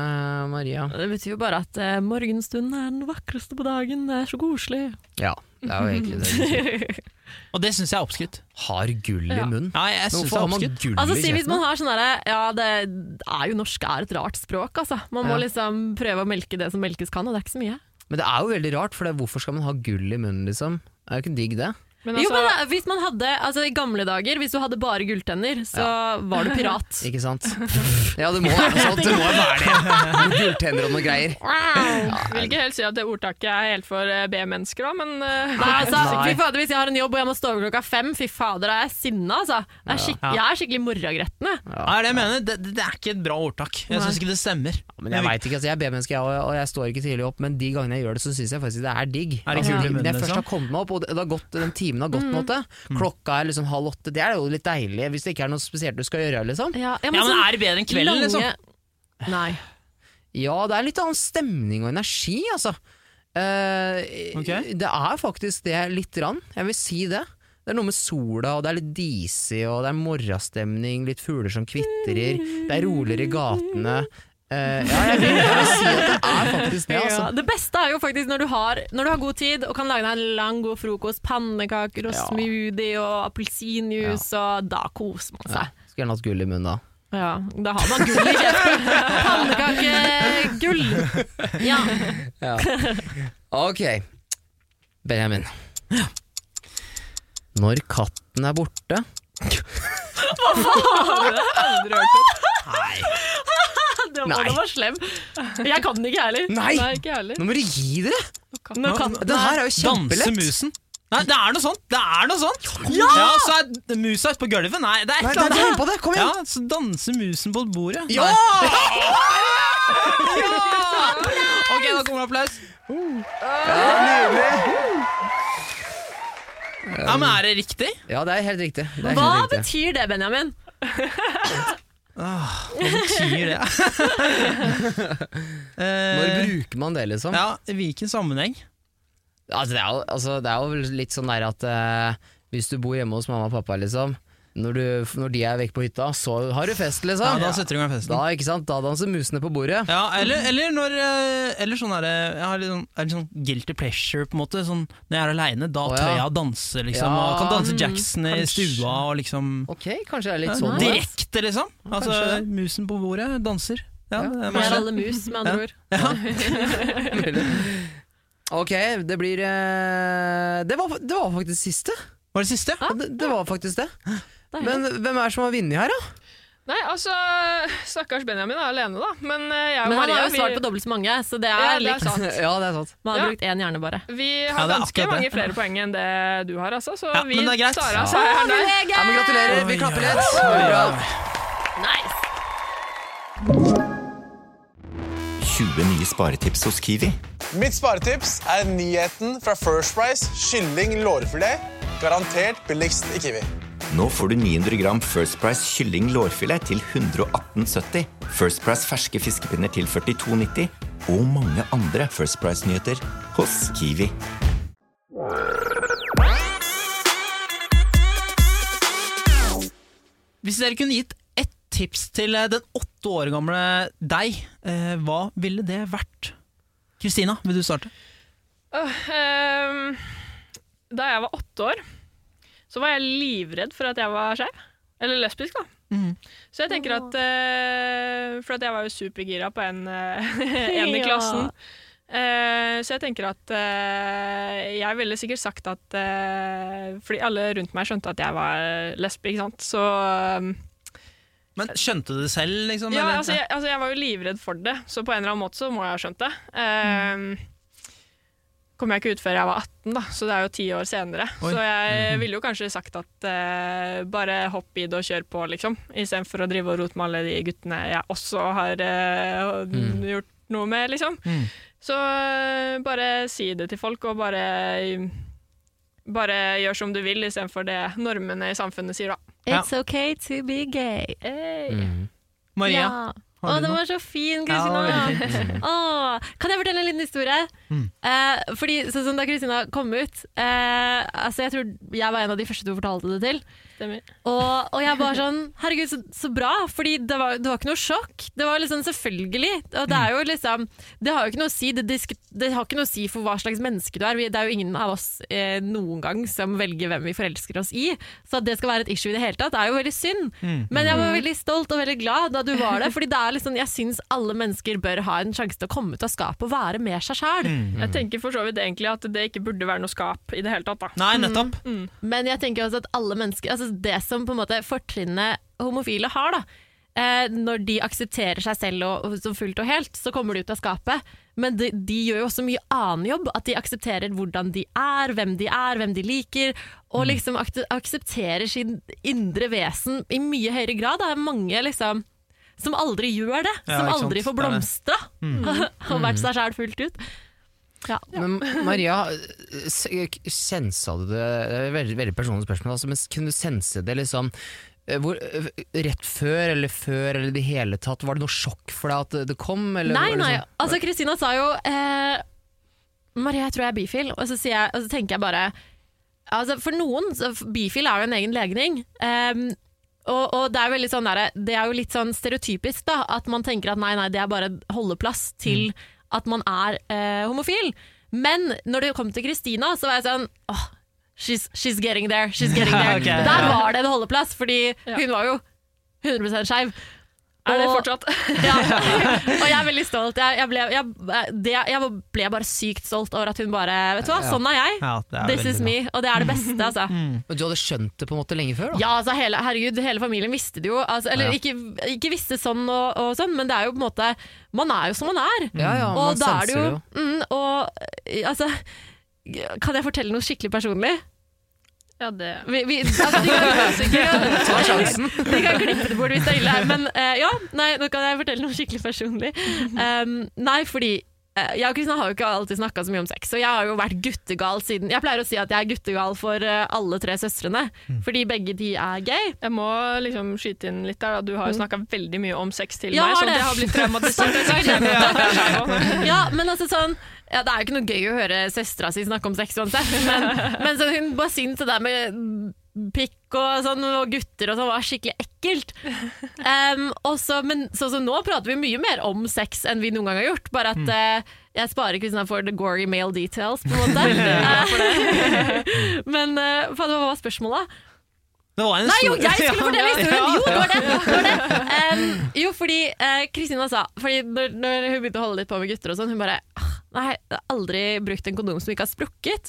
Maria? Det betyr jo bare at eh, morgenstunden er den vakreste på dagen, det er så koselig. Ja, det er jo egentlig det. du sier. Og det syns jeg er oppskrytt. Har gull i Ja. munnen? Ja, jeg Men synes det Hvorfor er har man oppskrytt. gull Altså, i si hvis kjeften? man har sånn derre Ja, det er jo norsk er et rart språk, altså. Man må Ja. liksom prøve å melke det som melkes kan, og det er ikke så mye. Men det er jo veldig rart, for det er hvorfor skal man ha gull i munnen, liksom? Det er jo ikke digg, det. men jo, altså, men da, hvis man hadde Altså, i gamle dager, hvis du hadde bare gulltenner, så var du pirat. Ikke sant? Ja, det må være noe sånt. Det må være det. Noen Gulltenner og noe greier. eh, vil ikke helt si at det ordtaket er helt for eh, B-mennesker, da, men eh, Nei, altså, Nei. fy fader, Hvis jeg har en jobb og jeg må stå over klokka fem, fy fader, da er jeg sinna. Altså. Jeg, er skikk- Ja. jeg er skikkelig morragretten. jeg. Ja, det, er det, jeg mener. det, det- det er ikke et bra ordtak. Jeg syns ikke det stemmer. Men jeg veit ikke, altså, jeg er B-menneske, jeg, og- og jeg står ikke tidlig opp, men de gangene jeg gjør det, så syns jeg faktisk det er digg. Er det altså, gull i de- munnen, når jeg først liksom? Mm. har kommet meg opp, og det, det har gått, den timen har gått, på en måte. Klokka er liksom halv åtte, det er jo litt deilig hvis det ikke er noe spesielt du skal gjøre, liksom. Ja, ja, Ja, men sånn er det bedre enn kvelden, lange- liksom? Nei. Ja, det er litt annen stemning og energi, altså. Eh, Ok. Det er faktisk det lite grann, jeg vil si det. Det er noe med sola, og det er litt disig, og det er morrastemning, litt fugler som kvitrer, det er roligere i gatene. Eh, ja, jeg vil, jeg vil si at det er faktisk det, altså. Ja, det beste er jo faktisk når du, har, når du har god tid og kan lage deg en lang, god frokost, pannekaker og Ja. smoothie og appelsinjuice, og da koser man Ja. seg. Skulle gjerne hatt gull i munnen da. Ja, Da har man gull i kjeften. Pannekakegull! Ja. Ok, Benjamin. Når katten er borte Det var, Nei. det var slem. Jeg kan den ikke, jeg heller. Nei! Nei, ikke jeg heller. Nå må du gi dere! Når katten Det her er jo Danse kjempelett. musen. Nei, det er noe sånt! Det er noe sånt. Ja! så er musa ute på gulvet. Nei, det er et Nei, det eller er annet. på det, kom Ja, igjen! så danser musen på bordet. Ja! Nei. Ok, da kommer det applaus. Ja, men er det riktig? Ja, det er helt riktig. Det er Hva helt riktig. betyr det, Benjamin? Ah. Hva betyr det? Eh, Når bruker man det, liksom? ja, i hvilken sammenheng? Altså, det, er jo, altså, det er jo litt sånn der at eh, hvis du bor hjemme hos mamma og pappa, liksom når, du, når de er vekk på hytta, så har du fest, Ja, liksom. da setter du i gang festen. da, ikke sant? da danser musene på bordet. Ja, eller, eller når eh, Eller sånn er det Jeg har litt sånn, er litt sånn guilty pleasure, på en måte. Sånn, når jeg er aleine, da Å, ja. tør jeg å danse, liksom. Ja, Og kan danse Jackson i kanskje. stua og liksom Ok, kanskje det er litt sånn. da. Direkte, liksom. Altså, Kanskje. musen på bordet danser. Ja, Ja. det er Vi er masse. alle mus, med andre ord. Ok, det blir eh, det, var, det var faktisk siste. Var det siste? Ja, det, det var faktisk det. Deilig. Men hvem er det som har vunnet her, da? Nei, altså, stakkars Benjamin er alene, da. Men eh, jeg Men og han Maria har jo svart vi- på dobbelt så mange, så det Ja, er det er likt. sant. Ja, det er sant. Man har Ja. brukt én hjerne, bare. Vi Ja, har det er ganske akkurat mange det. flere poeng enn det du har, altså. Så Ja, vi men det er greit. tar Ja. av seieren der. Ja, men gratulerer. Vi klapper litt. Veldig bra. Nice! 20 nye sparetips hos Kiwi. Mitt sparetips er nyheten fra First Price kylling lårfilet. Garantert billigst i Kiwi. Nå får du 900 gram First Price kylling lårfilet til 118,70. First Price ferske fiskepinner til 42,90. Og mange andre First Price-nyheter hos Kiwi. Hvis dere kunne gitt ett tips til eh, den åtte år gamle deg, eh, hva ville det vært? Kristina, vil du starte? Åh, ehm, Da jeg var åtte år, så var jeg livredd for at jeg var skeiv. Eller lesbisk, da. Mhm. Så jeg tenker at eh, For at jeg var jo supergira på en, eh, en i Ja. klassen. Eh, så jeg tenker at eh, jeg ville sikkert sagt at eh, Fordi alle rundt meg skjønte at jeg var lesbe, ikke sant. Så eh, Men skjønte du det selv, liksom? ja, eller? altså jeg, altså jeg var jo livredd for det, så på en eller annen måte så må jeg ha skjønt det. Um, Kom jeg ikke ut før jeg var 18, da, så det er jo ti år senere. Oi. Så jeg ville jo kanskje sagt at eh, bare hopp i det og kjør på, liksom. Istedenfor å drive og rote med alle de guttene jeg også har eh, Mm. gjort noe med, liksom. Mm. Så eh, bare si det til folk, og bare bare gjør som du vil, istedenfor det normene i samfunnet sier, da. It's okay to be gay. Mm. Maria, Ja. har Å, du den noe? var så fin, Ja, Kristina! det var Å, kan jeg fortelle en liten historie? Mm. Eh, fordi sånn som Da Kristina kom ut eh, altså Jeg tror jeg var en av de første du fortalte det til. Stemmer. Og, og jeg bare sånn Herregud, så, så bra! Fordi det var, det var ikke noe sjokk. Det var liksom selvfølgelig. Og det er jo liksom Det har jo ikke noe å si. Det, disk, det har ikke noe å si for hva slags menneske du er. Vi, det er jo ingen av oss eh, noen gang som velger hvem vi forelsker oss i. Så at det skal være et issue i det hele tatt, er jo veldig synd. Men jeg var veldig stolt og veldig glad da du var der. Fordi det er liksom, jeg syns alle mennesker bør ha en sjanse til å komme ut av skapet og være med seg sjæl. Jeg tenker for så vidt egentlig at det ikke burde være noe skap i det hele tatt, da. Nei, Mm, nettopp. Men jeg tenker også at alle mennesker altså Det som på en måte fortrinnet homofile har, da, eh, når de aksepterer seg selv og, og, som fullt og helt, så kommer de ut av skapet. Men de, de gjør jo også mye annen jobb. At de aksepterer hvordan de er, hvem de er, hvem de liker. Mm. Og liksom akte- aksepterer sin indre vesen i mye høyere grad. Det er mange liksom som aldri gjør det. Ja, som ikke aldri sant. får Det Mm. er det. blomstra og vært seg sjæl fullt ut. Ja. Men Maria, s- sensa du det det er et Veldig, veldig personlig spørsmål, altså, men kunne du sense det liksom eh, hvor, eh, rett før eller før eller i det hele tatt? Var det noe sjokk for deg at det- det kom? Eller, Nei, var det nei. sånn- Altså, Kristina sa jo eh, Maria, jeg tror jeg er bifil. Og så, sier jeg, og så tenker jeg bare altså, For noen, så f- bifil er jo en egen legning. Em, og, og det er jo veldig sånn derre- Det er jo litt sånn stereotypisk, da. At man tenker at nei, nei, det er bare holdeplass til Mm. at man er eh, homofil. Men når det kom til Kristina, så var jeg sånn åh, she's, she's getting there. She's getting there. Ok, Der ja. var det en holdeplass, fordi Ja. hun var jo 100 skeiv. Er det Og- fortsatt? ja. Og jeg er veldig stolt. Jeg, jeg, ble, jeg, det, jeg ble bare sykt stolt over at hun bare Vet du hva, Ja. sånn er jeg. Ja, det er This veldig is bra. me. Og det er det beste, altså. Men sånn, Du hadde skjønt det på en måte lenge før? da? Ja, altså hele, herregud, hele familien visste det jo. Altså, eller Ja. ikke, ikke visste sånn og, og sånn, men det er jo på en måte Man er jo som man er. Ja, ja, man og da er senser det jo det jo. mm, Og eh, altså Kan jeg fortelle noe skikkelig personlig? Ja, det Vi, vi, altså, de kan, Ta sjansen! De kan klippe det bort hvis det er ille. Men eh, ja, nei, nå kan jeg fortelle noe skikkelig personlig. Um, nei, fordi eh, jeg og Kristina har jo ikke alltid snakka så mye om sex, og jeg har jo vært guttegal siden Jeg pleier å si at jeg er guttegal for eh, alle tre søstrene, fordi begge de er gay. Jeg må liksom skyte inn litt der. Da. Du har jo snakka veldig mye om sex til Mm. Ja, meg, så har det. det har blitt traumatisert. Jeg skal glemme det. Det er skeiv også. Ja, men altså sånn ja, Det er jo ikke noe gøy å høre søstera si snakke om sex uansett, men, men sånn, hun bare syntes det der med pikk og, sånn, og gutter og sånn var skikkelig ekkelt. Um, og så- men sånn som nå prater vi mye mer om sex enn vi noen gang har gjort, bare at eh, jeg sparer Kristina for the gory male details, på en måte. Eh, men eh, faen, hva var spørsmålet? Det var en Nei, jo, stor- jeg skulle fortelle Ja, historien! ja. Jo, det var det! det, var det. Em, jo, fordi eh, Kristina sa Fordi når, når hun begynte å holde litt på med gutter og sånn, hun bare «Ah, Nei, jeg har aldri brukt en kondom som ikke har sprukket.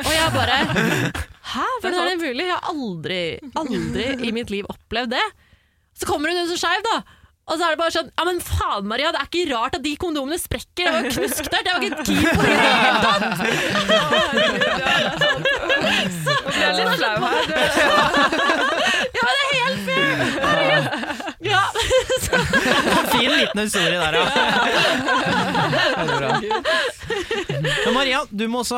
Og jeg bare Hæ, hvordan er det mulig? Jeg har aldri, aldri i mitt liv opplevd det. Så kommer hun ut som skeiv, da. Og så er det bare sånn Ja, men faen, Maria, det er ikke rart at de kondomene sprekker. Det var jo knusk der. Det var ikke keen på det i det hele tatt. Nå ble jeg litt flau her. Det- Ja, men det er helt fair. Herregud. Ja. Fin liten historie der, ja. Det er bra. Men Maria, du må også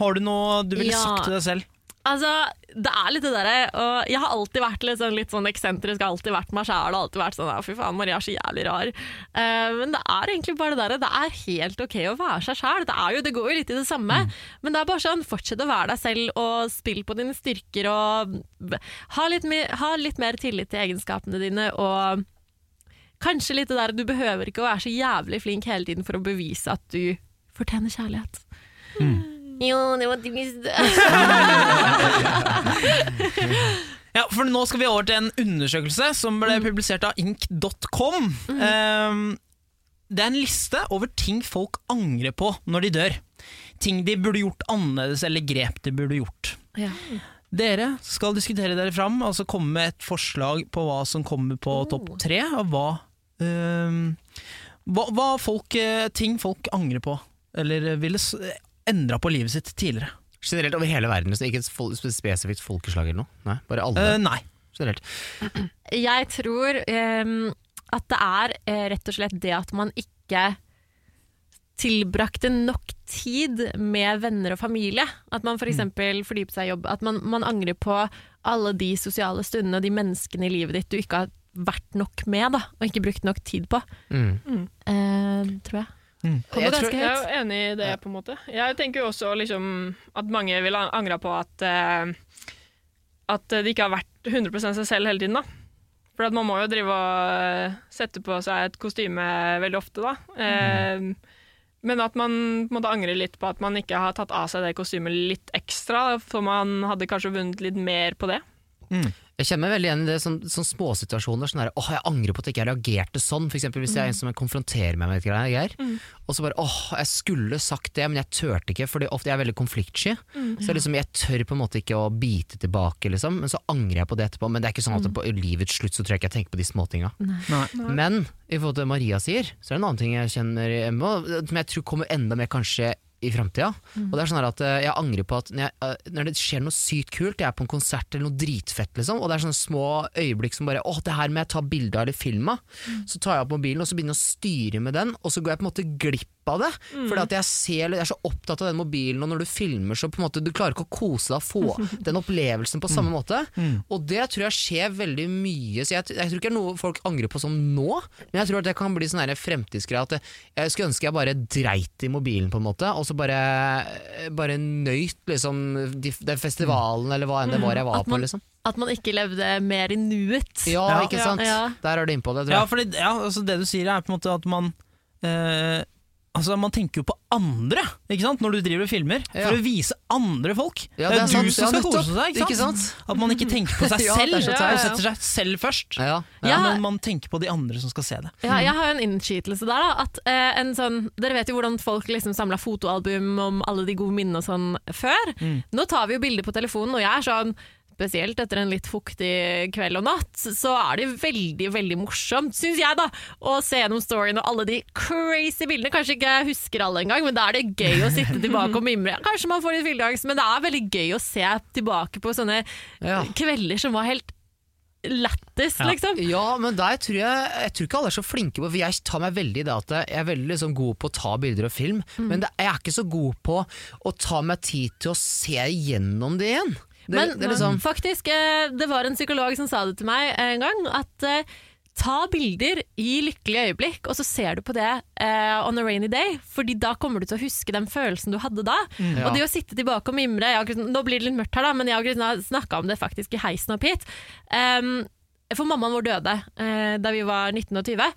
Har du noe du ville Ja. sagt til deg selv? Altså, det er litt det derre Og jeg har alltid vært litt sånn, litt sånn eksentrisk, har alltid vært meg sjæl og alltid vært sånn «Å, Fy faen, Maria er så jævlig rar. Eh, men det er egentlig bare det derre Det er helt OK å være seg sjæl. Det, er jo- det går jo litt i det samme. Men det er bare sånn, fortsett å være deg selv og spill på dine styrker og b- ha litt, mer- ha litt mer tillit til egenskapene dine og kanskje litt det derre du behøver ikke å være så jævlig flink hele tiden for å bevise at du fortjener kjærlighet. Jo, det var trist. Ja, for nå skal vi over til en undersøkelse som ble publisert av ink.com. Ehm, det er en liste over ting folk angrer på når de dør. Ting de burde gjort annerledes, eller grep de burde gjort. Ja. Dere skal diskutere dere fram, altså komme med et forslag på hva som kommer på topp tre, og hva, ehm, hva, hva folk, eh, ting folk angrer på, eller ville s- endra på livet sitt tidligere. Generelt over hele verden, liksom. ikke et fol- spesifikt folkeslag eller noe. Nei, bare alle. Eh, nei. Generelt. Jeg tror ehm, at det er eh, rett og slett det at man ikke tilbrakte nok tid med venner og familie. At man Mm. f.eks. fordypet seg i jobb. At man, man angrer på alle de sosiale stundene og de menneskene i livet ditt du ikke har vært nok med, da, og ikke brukt nok tid på. Mm. Eh, tror jeg. Kommer Jeg tror- ganske Jeg er høyt. jo enig i det, på en måte. Jeg tenker jo også liksom, at mange vil an- angre på at, eh, at de ikke har vært 100 seg selv hele tiden. da. For at man må jo drive og eh, sette på seg et kostyme veldig ofte, da. Mm. Eh, Men at man på en måte angrer litt på at man ikke har tatt av seg det kostymet litt ekstra, for man hadde kanskje vunnet litt mer på det. Jeg kjenner meg veldig igjen i det, sånn, sånn småsituasjoner. Sånn der, åh, jeg angrer på at jeg ikke reagerte sånn. For eksempel hvis jeg er en som konfronterer meg med et greie, greier, og så bare åh, jeg skulle sagt det, men jeg turte ikke, for ofte jeg er veldig konfliktsky. Så jeg, liksom, jeg tør på en måte ikke å bite tilbake, liksom, men så angrer jeg på det etterpå. Men det er ikke sånn at på livets slutt så tror jeg ikke jeg tenker på de småtinga. Men i forhold til det Maria sier, så er det en annen ting jeg kjenner i MO, som jeg tror kommer enda mer kanskje i framtida. Og det er sånn her at eh, jeg angrer på at når, jeg, eh, når det skjer noe sykt kult, jeg er på en konsert eller noe dritfett, liksom, og det er sånne små øyeblikk som bare Å, det her må jeg ta bilde av eller film av. Så tar jeg opp mobilen og så begynner jeg å styre med den, og så går jeg på en måte glipp av det. Fordi at jeg ser, jeg er så opptatt av den mobilen, og når du filmer, så på en måte, du klarer ikke å kose deg og få den opplevelsen på samme måte. Og det tror jeg skjer veldig mye. Så jeg, t- jeg tror ikke det er noe folk angrer på sånn nå, men jeg tror at det kan bli sånn her fremtidsgreie at det- jeg skulle ønske jeg bare dreit i mobilen, på en måte, og så bare, bare nøyt liksom de, den festivalen eller hva enn det var jeg var At man- på, liksom. At man ikke levde mer i nuet. Ja, Ja. ikke sant? Ja. Der er du inne på det, tror Ja, jeg. fordi, ja altså det du sier er på en måte at man eh, Altså Man tenker jo på andre ikke sant? når du driver og filmer, Ja. for å vise andre folk. Ja, det er, sant. du som Ja, skal nettopp. kose deg. Ikke sant? Ikke sant? At man ikke tenker på seg Ja, det selv er og så teit. setter seg selv først. Ja, ja. Ja. Men man tenker på de andre som skal se det. Ja, jeg har jo en innskytelse der. da at, eh, en sånn, Dere vet jo hvordan folk liksom samla fotoalbum om alle de gode minnene og sånn før. Mm. Nå tar vi jo bilder på telefonen, og jeg er sånn Spesielt etter en litt fuktig kveld og natt, så er det veldig veldig morsomt, syns jeg, da, å se gjennom storyen og alle de crazy bildene. Kanskje ikke jeg husker alle engang, men da er det gøy å sitte tilbake og mimre. Kanskje man får litt fylleangst, men det er veldig gøy å se tilbake på sånne Ja. kvelder som var helt lættis, liksom. Ja, men der tror jeg Jeg tror ikke alle er så flinke på For jeg tar meg veldig i det at jeg er veldig liksom god på å ta bilder og film, Mm. men det, jeg er ikke så god på å ta meg tid til å se igjennom det igjen. Det, Men det er liksom faktisk, eh, det var en psykolog som sa det til meg en gang, at eh, ta bilder i lykkelige øyeblikk, og så ser du på det eh, on a rainy day, fordi da kommer du til å huske den følelsen du hadde da. Mm. Og det å sitte tilbake og mimre, jeg og Kristin- nå blir det litt mørkt her da, men jeg og Kristin har snakket om det faktisk i heisen opp hit. Um, for mammaen vår døde eh, da vi var 19 og 20,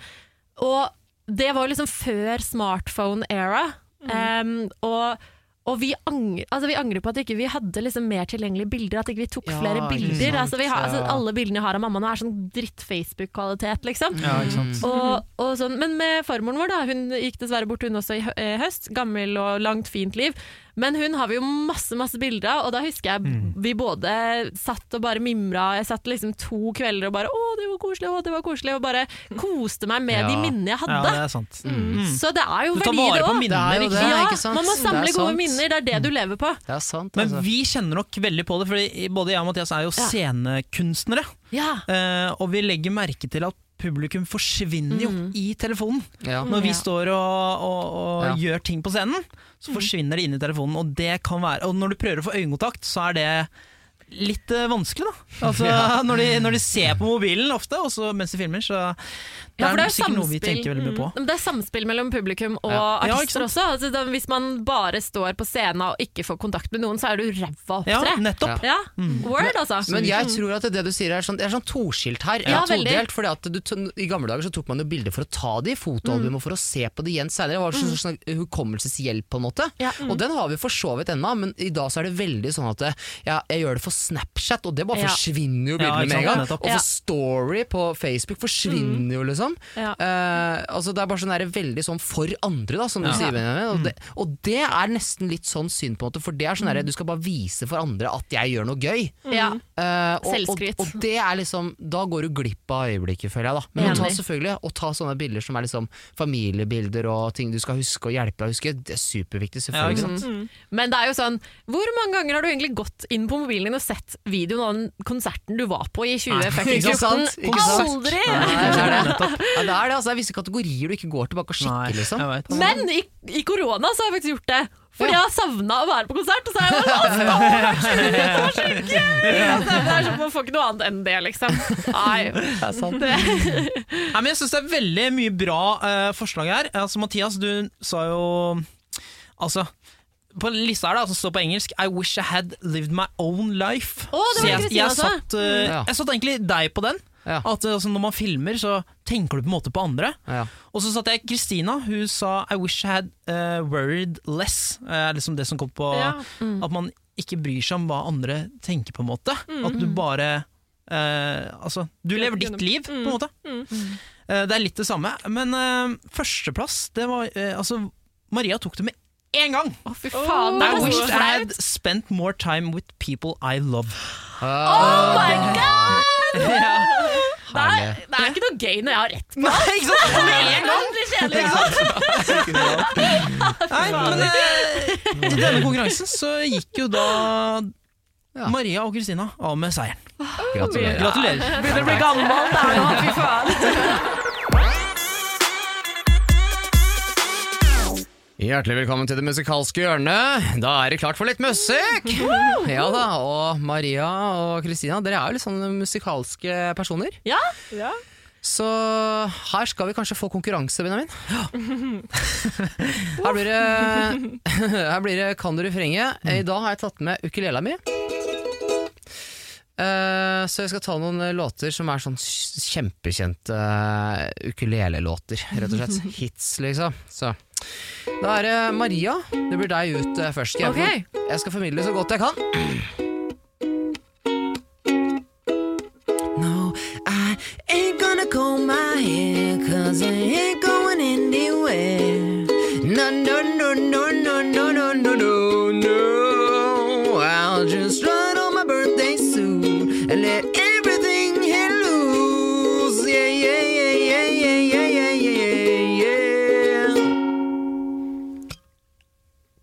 og det var jo liksom før smartphone-era, um, og og vi angrer, altså vi angrer på at ikke vi ikke hadde liksom mer tilgjengelige bilder, at ikke vi tok Ja, flere ikke bilder. sant, Altså vi har, altså ja. alle bildene jeg har av mamma nå er sånn dritt-Facebook-kvalitet, liksom. Ja, ikke sant? Og, og sånn. Men med farmoren vår, da, hun gikk dessverre bort hun også i hø- eh, høst. Gammel og langt, fint liv. Men hun har vi jo masse masse bilder av, og da husker jeg Mm. vi både satt og bare mimra. Jeg satt liksom to kvelder og bare 'Å, det var koselig', å, det var koselig', og bare koste meg med Ja. de minnene jeg Ja, hadde. det er sant. Mm. Så det er jo Du tar verdi, vare det på òg. Det minner. er jo Ikke det. sant? Ja, ikke sant? man må Det er samle gode sant. minner, det er det du lever på. Det er sant, Men altså. vi kjenner nok veldig på det, Fordi både jeg og Mathias er jo Ja. scenekunstnere. Ja. eh, og vi legger merke til at publikum forsvinner jo Mm. i telefonen. ja. Når vi Ja. står og, og, og Ja. gjør ting på Mhm. scenen, så forsvinner det inn i telefonen. Og, det kan være, og når du prøver å få øyekontakt, så er det litt eh, vanskelig, da. Altså, Ja. når, de, når de ser på mobilen ofte, også mens de filmer, så det er, Ja, for det er sikkert noe vi samspill. Mm. tenker veldig mye på. Men Det er samspill mellom publikum og Ja. Ja, artister ikke også. Altså, da, hvis man bare står på scenen og ikke får kontakt med noen, så er du ræva Ja, Mm. opptre. nettopp. Ja. Word, altså. Men jeg Mm. tror at det du sier er sånn, det er sånn toskilt her. Ja, eller veldig. todelt, fordi at du, t- I gamle dager så tok man jo bilder for å ta de i Mm. fotoalbum og for å se på de igjen senere. Det var sånn, sånn, hukommelseshjelp på en måte. Ja. mm. Og den har vi for så vidt ennå, men i dag så er det veldig sånn at eh, ja, jeg gjør det for Snapchat, og det bare Ja. forsvinner jo Ja, bildene ikke med en sant, gang. nettopp. Og Ja. Mm. for Story på Facebook forsvinner jo, liksom. Ja. Eh, altså Det er bare sånn der, veldig sånn for andre, da, som du sier. Benjamin, Mm. Og det, og det er nesten litt sånn synd, på en måte, for det er sånn der, du skal bare vise for andre at jeg gjør noe gøy. Mm. ja. Eh, og, Selvskryt. Og, og det er liksom, da går du glipp av øyeblikket, føler jeg. da Men å ta, Enig. selvfølgelig å ta sånne bilder som er liksom familiebilder og ting du skal huske og hjelpe deg å huske, det er superviktig. Ja, ikke selvfølgelig sant? Men det er jo sånn, hvor mange ganger har du egentlig gått inn på mobilen din og sett videoen av den konserten du var på i Ikke 2014? sant? Ikke sant? Aldri! Nei, det er det. Ja, det er det, altså. Det er visse kategorier du ikke går tilbake Nei, og sjekker, sånn. liksom. jeg vet. Men i, i korona så har jeg faktisk gjort det. For Ja. jeg har savna å være på konsert. Og så er jeg bare sånn, «Å, det var så gøy! Det var så gøy! Altså, det er sånn, Man får ikke noe annet enn det, liksom. Nei. Det er sant. Nei, men jeg syns det er veldig mye bra eh, forslag her. Altså, Mathias, du sa jo Altså på lista her da, som står på engelsk I wish I had lived my own life. Å, det var Så jeg, Kristina jeg, også. satt, eh, Mm. Ja. jeg satt egentlig deg på den. Ja. At eh, altså, Når man filmer, så tenker du på en måte på andre. Ja. Og så satt jeg Kristina, hun sa I wish I had eh, worried less. Eh, liksom det som kom på Ja. Mm. At man ikke bryr seg om hva andre tenker, på en måte. Mm. At du bare eh, Altså, du lever ditt liv, på Mm. en måte. Eh, det er litt det samme. Men eh, førsteplass, det var eh, Altså, Maria tok det med én gang! Å, fy faen, det I er wish I så had flaut. spent more time with people I love. Oh my god! Det er, Herlig. det er ikke noe gøy når jeg har rett. Nei, ikke sant? Med en gang! Det blir kjedelig, liksom. ikke sant? Nei, men eh, i denne konkurransen så gikk jo da Ja. Maria og Kristina av med seieren. Gratulerer. Gratulerer. Begynner å bli gammel. Det er jo, fy faen. Hjertelig velkommen til det musikalske hjørnet. Da er det klart for litt musikk! Ja da, og Maria og Kristina, dere er jo litt sånne musikalske personer. Ja. Så her skal vi kanskje få konkurranse, Benjamin. Her blir det, her blir det Kan du refrenget? I dag har jeg tatt med ukulela mi. Eh, så jeg skal ta noen eh, låter som er sånn s- kjempekjente uh, ukulelelåter, rett og slett. Hits, liksom. Så. Da er det Maria. Det blir deg ut eh, først. Skal Jeg, Ok. jeg skal formidle så godt jeg kan. No, I ain't gonna comb my hair Cause I ain't going anywhere No, no, no, no, no, no, no, no, no, no I'll just run on my birthday suit And let everything hit loose Yeah, yeah, yeah, yeah, yeah, yeah, yeah, yeah, yeah, yeah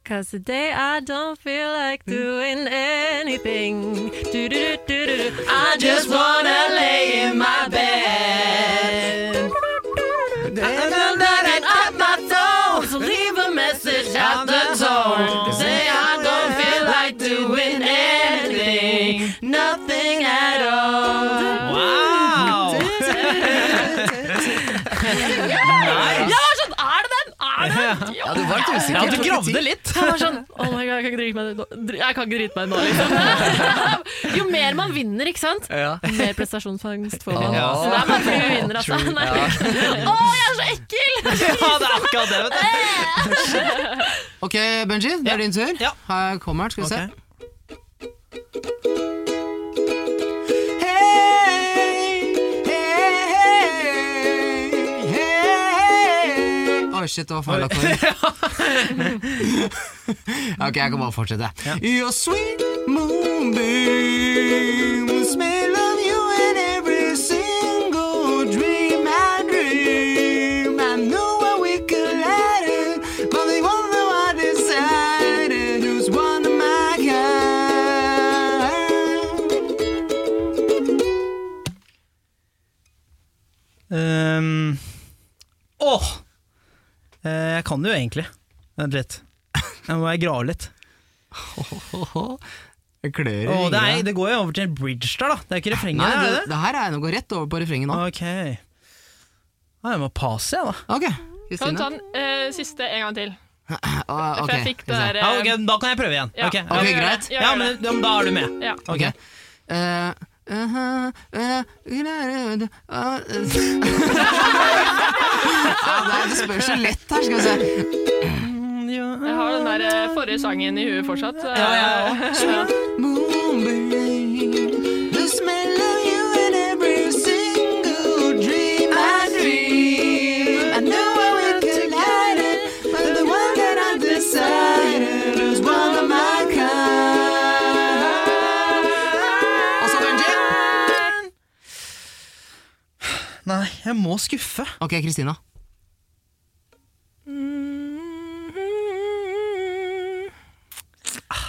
Cause today I don't feel like doing anything. Do-do-do-do-do-do. I just wanna lay in my bed. And up my phone, so leave a message at the tone. Say I don't feel like doing anything, nothing at all. Wow! Jeg var sånn, er det den? Er det den? Ja, du var litt usikker. Ja, du gravde litt. Jeg var sånn Oh my god, jeg kan ikke drite meg ut nå. Dri- Jeg kan ikke drite meg ut nå, liksom. Jo mer man vinner, ikke sant? Ja. Mer prestasjonsfangst får man. Ja. Så det er bare fordi vi vinner, altså. Nei. Å, jeg er så ekkel! Ja, det er akkurat det, vet du. Ok, Benji, det er din tur. Ja. Her kommer den, skal vi se. Ok. Oi, shit, det var feil akkord. ok, jeg kan bare fortsette. Your sweet moonbeam smell of you in every single dream I dream. I know where we collided, but the one that I decided who's one of my kind. Um, åh! Eh, Jeg kan det jo egentlig. Vent litt. Jeg må jeg grave litt. Jeg klør i Å, det, er, fingrene. det går jo over til en bridge der, da. Det er ikke refrenget, Nei, det, det, er det? det her er, nå går rett over på refrenget nå. Ok. Nei, jeg må passe, jeg, da. Ok, Kan du ta den eh, siste en gang til? Ah, For jeg fikk det der, ja, eh, ok, Da kan jeg prøve igjen. Ja. Ok, Ok, Ehm, ja. greit. Ja, Ja, gjør men det. da- da er du med. Ja. Ok. Eh, eh, eh, eh, ah, eh. Det spørs så lett her, skal vi se. Jeg har den der eh, forrige sangen i huet fortsatt. eh, Ja, ja, ja. så- The smell of you in every single dream I dream. I know I will collide it, but the one that I decided is one of my kind. Og så Benji. Nei, jeg må skuffe. Ok, Kristina.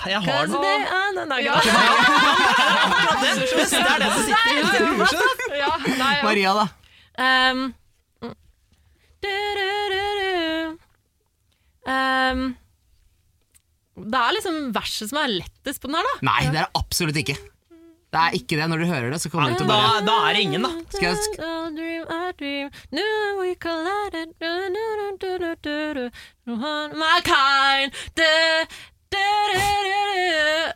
Jeg har den. Det er den der Ja. gangen. Det er det som sitter i hodet, skjønner du. Ja, nei, ja. Maria, da. Um, du-du-du-du. um, det er liksom verset som er lettest på den her, da. Nei, det er det absolutt ikke. Det er ikke det. Når du hører det, så kommer du til å Da, bare da er det ingen, da. Skal jeg sk- A dream, a dream. Now we collided. Du-du-du-du-du-du. One my kind. Du- du-du-du-du.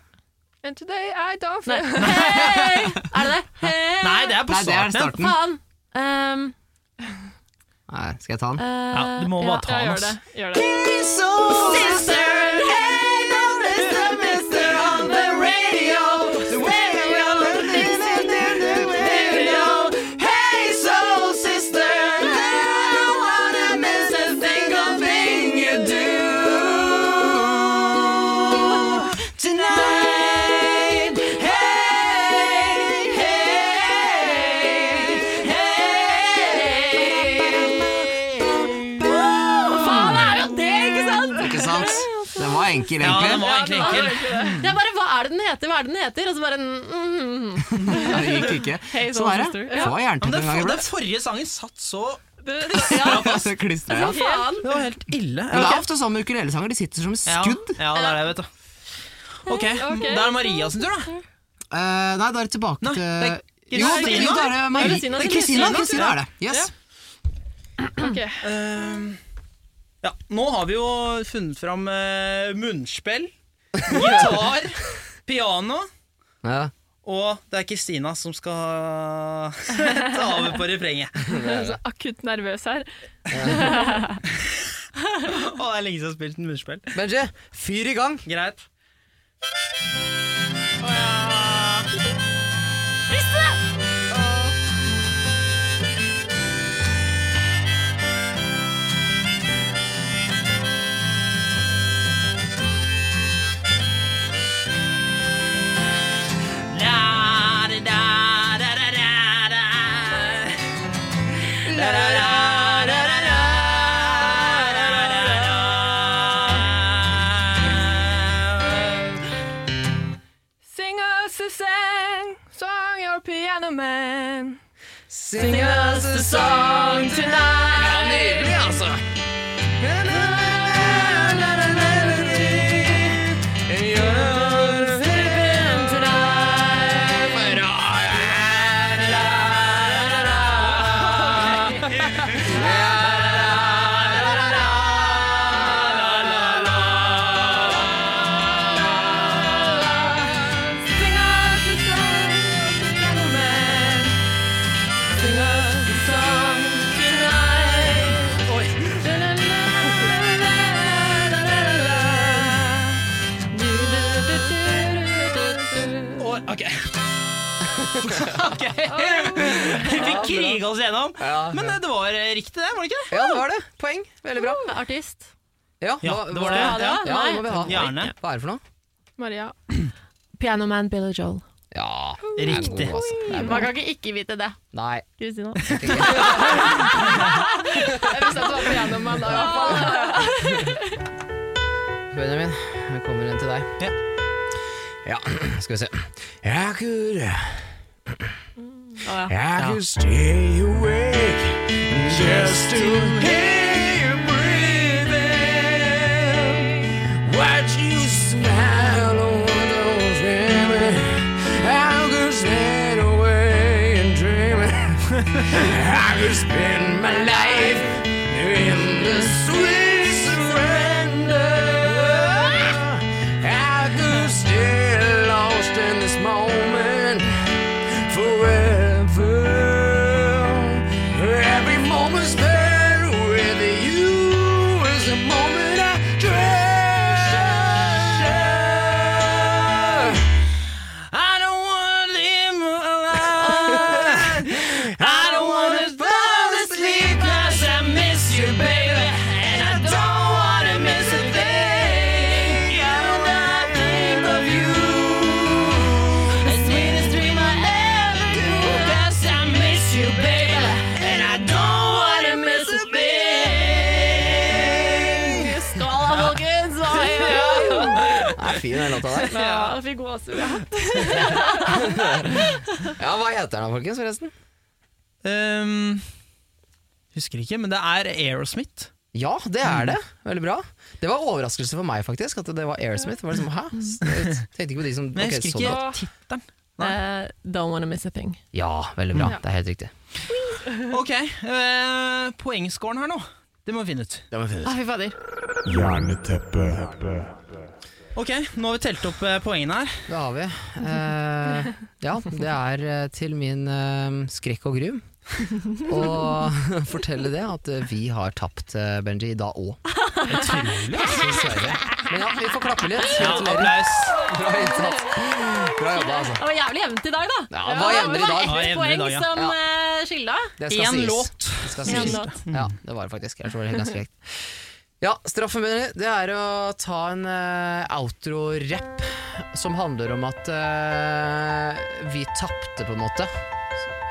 And today I don't Nei. feel Hey! Er det det? Hey! Nei, det er på Nei, det er starten. starten. Faen. Um, Nei, skal jeg ta den? eh, Ja, du må bare ja. ta Ja, den, altså. gjør ass. det. Gjør det. Faen, det er jo det, ikke sant? Ikke sant? Den var Ja, enkel, den egentlig. var egentlig enkel. Det er bare hva er det den heter, hva er det den heter? Og så bare mm, mm. Ja, det gikk ikke. Hey, Sånn er det. sister. Ja. Få Men jernteppe den, en gang for, den iblant. forrige sangen satt så Klistra, ja. Faen. Det var helt ille. Men det er ofte sånn med ukulelesanger. De sitter som skudd. Ja, ja, det er det, vet du. Ok, Ok. da er det Maria sin tur, da. Eh, nei, da er det tilbake Nei, til det er Jo, Kristina. jo, da er det Marie. Det Kristina er sin Kristina. Kristina. Kristina er det. Yes. Ok. Eh, Ja, nå har vi jo funnet fram eh, munnspill, gitar, piano, Ja. og det er Kristina som skal ta over på refrenget. Jeg er så akutt nervøs her. Å, det er lenge siden jeg har spilt en munnspill. Benji, fyr i gang. Greit. Sing us a song, song your piano man. Sing us a song Tonight. Nydelig, altså. Sing us a song, piano man. Sing us a song tonight. Du-du-du-du-du-du-du. Å, Ok. ok. Vi fikk kriga oss gjennom. Men eh, det var eh, riktig, det, var det ikke? Ja, det var det. Poeng. Veldig bra. Artist. Ja, Ja, hva- det var hva- det. Ja, det må vi ha. Gjerne. Hva er det for noe? Maria. Pianoman Billy Joel. Ja, det? Riktig. altså. Det er Man kan ikke ikke vite det. Nei. Kristina. Jeg visste at du var pianoman da, i hvert fall. Benjamin, her kommer en til deg. Ja. Ja, skal vi se. Jeg could, Å, I could Stay awake just to hear you breathing. Watch you smile on those baby I could spend my life in the sweet surrender. I could stay lost in this moment forever. Every moment spent with you is a moment I treasure. I don't wanna live my life. I don't wanna fall asleep 'cause I miss you, baby. And I don't wanna miss a thing. Yeah, when I think of you. It's sweetest dream I ever do. 'Cause I miss you, baby. And I don't wanna miss a thing. Skål, da, folkens! Hva er det? Det er fin den låta der. Ja, jeg fikk gåsehud. jeg. Ja, Hva heter den da, folkens? forresten? Ehm, husker ikke, men det er Aerosmith. Ja, det er det. Veldig bra. Det var overraskelse for meg, faktisk, at det var Aerosmith. Det Var liksom, hæ? Jeg tenkte ikke på de som Men jeg ok, husker sånn ikke låt. tittelen. Eh, don't wanna miss a thing. Ja, veldig bra. Ja. Det er helt riktig. Ok, eh, poengscoren her nå. Det må vi finne ut. Det må vi finne Å, Ah, fy fader. Jerneteppe. Ok, Nå har vi telt opp eh, poengene her. Det har vi. Eh, ja, det er eh, til min eh, skrekk og gru å fortelle det at eh, vi har tapt, eh, Benji, i dag òg. Utrolig. Dessverre. Men ja, vi får klappe litt. Ja, Gratulerer. applaus. Bra innsats. Bra jobba, altså. Det var jævlig jevnt i dag, da. Ja, hva jevner i dag? Ja, Et jevner i poeng dag, ja. som Ja. eh, skilla. Det skal Én sies. låt. Det skal En sies. låt. Ja, det var det faktisk. Jeg tror det er ganske greit. Ja, straffen min det er å ta en eh, outro-rapp som handler om at eh, vi tapte, på en måte.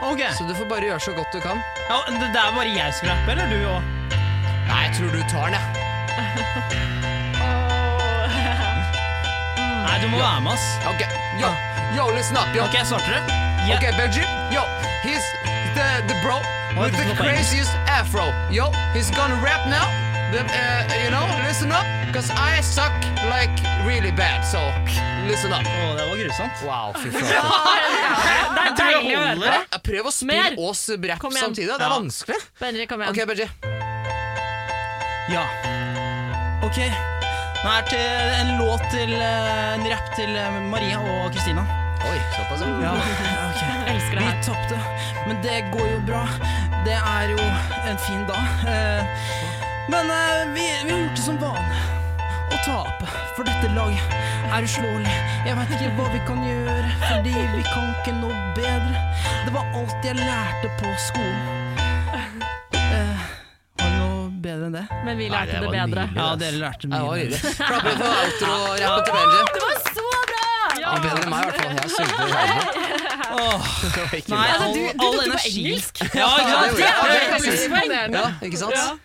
Ok, Så du får bare gjøre så godt du kan. ja, Det det er bare jeg som rapper, eller du òg? Nei, jeg tror du tar den, jeg. Nei, du må være med, ass. Ok, yo, yo, listen up, yo. Ok, svartere. Ja. Ok, Benji, yo, he's the, the bro with det the står på engelsk. craziest afro. Yo, he's gonna rap now. The, eh, you know, listen up, cause I suck like really bad, so listen up. Å, det var grusomt. Wow, fy flate. Det er tror jeg deilig å holder. høre. Jeg prøver å spille Mer. oss rapp Kom igjen. samtidig. da. Det er Ja. vanskelig. Benji, kom Ok, igjen. Benji. Ja. Ok. Nå er det til en låt til eh, En rapp til eh, Maria og Kristina. Oi, såpass. ja. Ja, ok. Elsker Vi det her. tapte, men det går jo bra. Det er jo en fin dag. Eh, Men eh, vi, vi har gjort det som vane å tape, for dette laget er uslåelig. Jeg veit ikke hva vi kan gjøre, fordi vi kan ikke noe bedre. Det var alt jeg lærte på skolen. Eh, Var det noe bedre enn det? Men vi det lærte det var bedre. nydelig. Ja, ass. dere lærte Det mye. var dere. nydelig. Klapp litt for outro-rappen til Benji. Det var så bra! Han er bedre enn meg, i hvert fall. Jeg sulter i hodet. Åh, Det var nei, ikke bra. Altså, du- all, du all lukter på energi. engelsk. Ja, ikke Ja, sant? det gjorde jeg. Det- Ja, det gjorde jeg. Imponerende. Ja, ikke sant?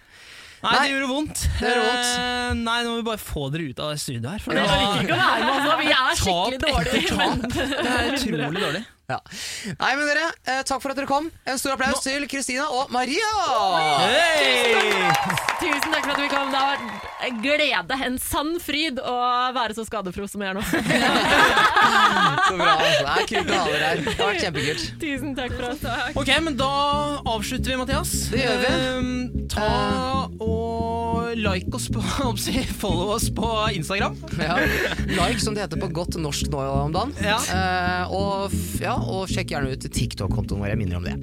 Nei, Nei. det gjorde vondt. Det gjorde vondt. Eh, nei, nå må vi bare få dere ut av det studioet her. For Jeg liker ikke å være med, altså. Vi er skikkelig Tap etter dårlige. tap. men- det er utrolig dårlig. Ja. Nei, men dere, eh, takk for at dere kom. En stor applaus til Kristina og Maria! Hey! Tusen takk for at vi kom. Det har vært en glede, en sann fryd, å være så skadefro som jeg er nå. Så bra. altså. Det er kult å ha dere her. Det har vært kjempekult. Tusen takk for oss. Ok, men da avslutter vi, Mathias. Det gjør vi. Eh, ta og like oss på oppsi, Follow oss på Instagram. Ja. Like, som det heter på godt norsk nå om dagen. Ja. Eh, og, f- ja, og sjekk gjerne ut TikTok-kontoen vår, jeg minner om det.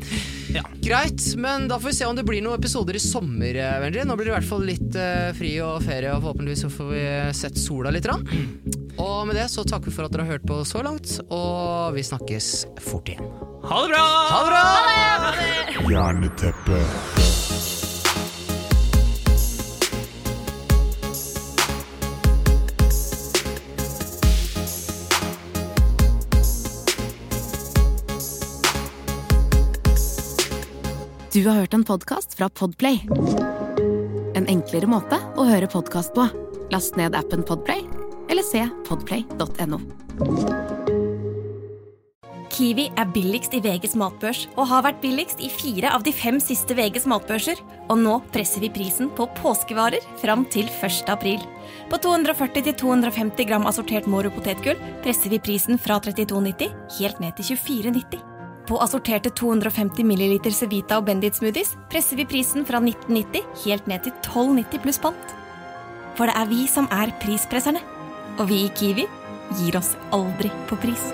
Ja. Greit, men da får vi se om det blir noen episoder i sommer, eh, Benji. Nå blir det i hvert fall litt eh, fri og ferie, og forhåpentligvis så får vi eh, sett sola litt. grann. Mm. Og med det så takker vi for at dere har hørt på så langt, og vi snakkes fort igjen. Ha det bra! Ha det bra! Jerneteppe. Du har hørt en podcast fra Podplay En enklere måte å høre podcast på Last ned appen Podplay Eller se podplay.no Kiwi er billigst i VGs matbørs og har vært billigst i fire av de fem siste VGs matbørser. Og nå presser vi prisen på påskevarer fram til 1. april. På 240-250 gram assortert Moro potetgull presser vi prisen fra 32,90 helt ned til 24,90. På assorterte 250 ml Cevita og Bendit smoothies presser vi prisen fra 1990 helt ned til 12,90 pluss pant. For det er vi som er prispresserne. Og vi i Kiwi gir oss aldri på pris.